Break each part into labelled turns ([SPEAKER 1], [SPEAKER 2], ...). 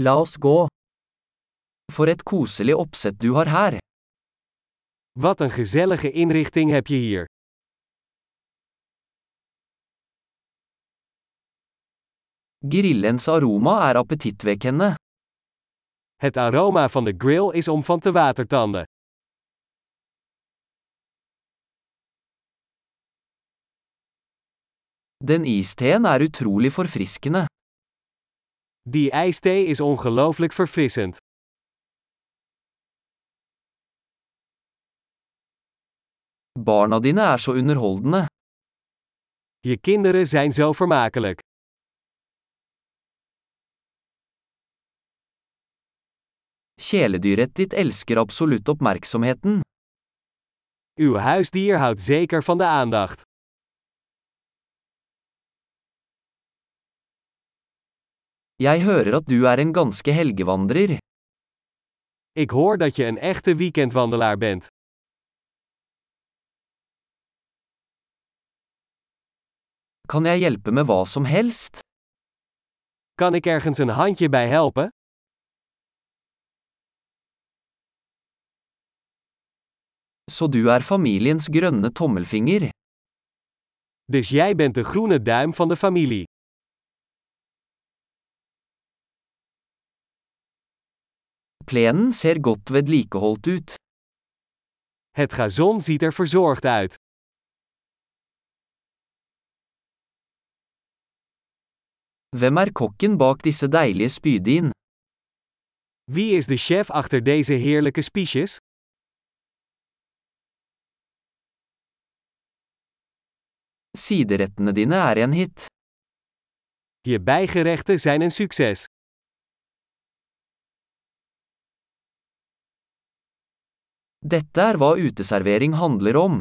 [SPEAKER 1] La oss gå. For et koselig oppsett du har her.
[SPEAKER 2] Wat een gezellige inrichting heb je hier.
[SPEAKER 1] Grillens aroma er appetittvekkende.
[SPEAKER 2] Het aroma van de grill is om van te watertanden.
[SPEAKER 1] Den isteen er utrolig forfriskende.
[SPEAKER 2] Die ijsthee is ongelooflijk verfrissend.
[SPEAKER 1] Barna dine er så underholdende.
[SPEAKER 2] Je kinderen zijn zo vermakelijk.
[SPEAKER 1] Kjæledyret ditt elsker absolutt oppmerksomheten.
[SPEAKER 2] Uw huisdier houdt zeker van de aandacht.
[SPEAKER 1] Jeg hører at du er en ganske helgevandrer.
[SPEAKER 2] Ik hoor dat je een echte weekendwandelaar bent.
[SPEAKER 1] Kan jeg hjelpe med hva som helst?
[SPEAKER 2] Kan ik ergens een handje bij helpen?
[SPEAKER 1] Så du er familiens grønne tommelfinger.
[SPEAKER 2] Dus jij bent de groene duim van de familie.
[SPEAKER 1] Plenen ser godt vedlikeholdt ut.
[SPEAKER 2] Het gazon ziet er verzorgd uit.
[SPEAKER 1] Hvem er kokken bak disse deilige spydin?
[SPEAKER 2] Wie is de chef achter deze heerlijke spiesjes?
[SPEAKER 1] Siderettene dine er en hit.
[SPEAKER 2] Je bijgerechten zijn een succes.
[SPEAKER 1] Dette er hva uteservering handler om.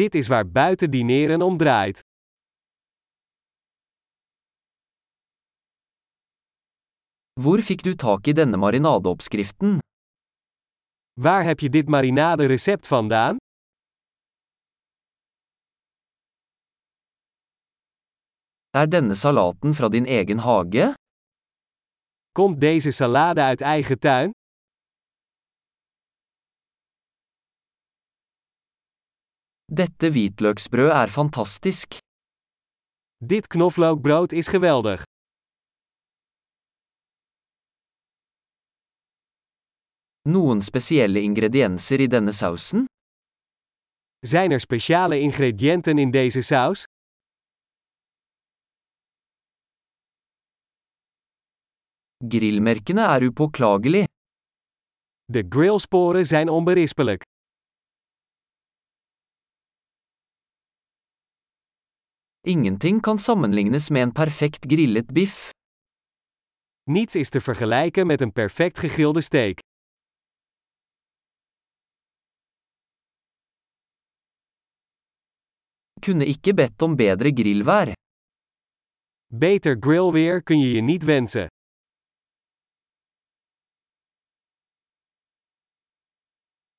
[SPEAKER 2] Dit is waar buiten dineren om draait.
[SPEAKER 1] Hvor fikk du tak i denne marinadeoppskriften?
[SPEAKER 2] Waar heb je dit marinade recept vandaan?
[SPEAKER 1] Er denne salaten fra din egen hage?
[SPEAKER 2] Komt deze salade uit eigen tuin?
[SPEAKER 1] Dette hvitløksbrød er fantastisk.
[SPEAKER 2] Dit knoflookbrood is geweldig.
[SPEAKER 1] Noen spesielle ingredienser i denne sausen?
[SPEAKER 2] Zijn er speciale ingrediënten in deze saus?
[SPEAKER 1] Grillmerkene er upåklagelig.
[SPEAKER 2] De grillsporen zijn onberispelijk.
[SPEAKER 1] Ingenting kan sammenlignes med en perfekt grillet biff.
[SPEAKER 2] Niets is te vergelijken met een perfect gegrilde steak.
[SPEAKER 1] Kunne ikke bedt om bedre grillvær.
[SPEAKER 2] Beter grillweer kun je je niet wensen.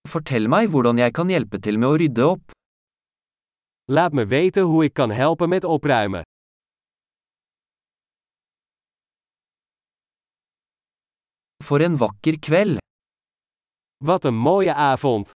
[SPEAKER 1] Fortell meg hvordan jeg kan hjelpe til med å rydde opp.
[SPEAKER 2] Laat me weten hoe ik kan helpen met opruimen.
[SPEAKER 1] For en vakker kveld!
[SPEAKER 2] Wat een mooie avond!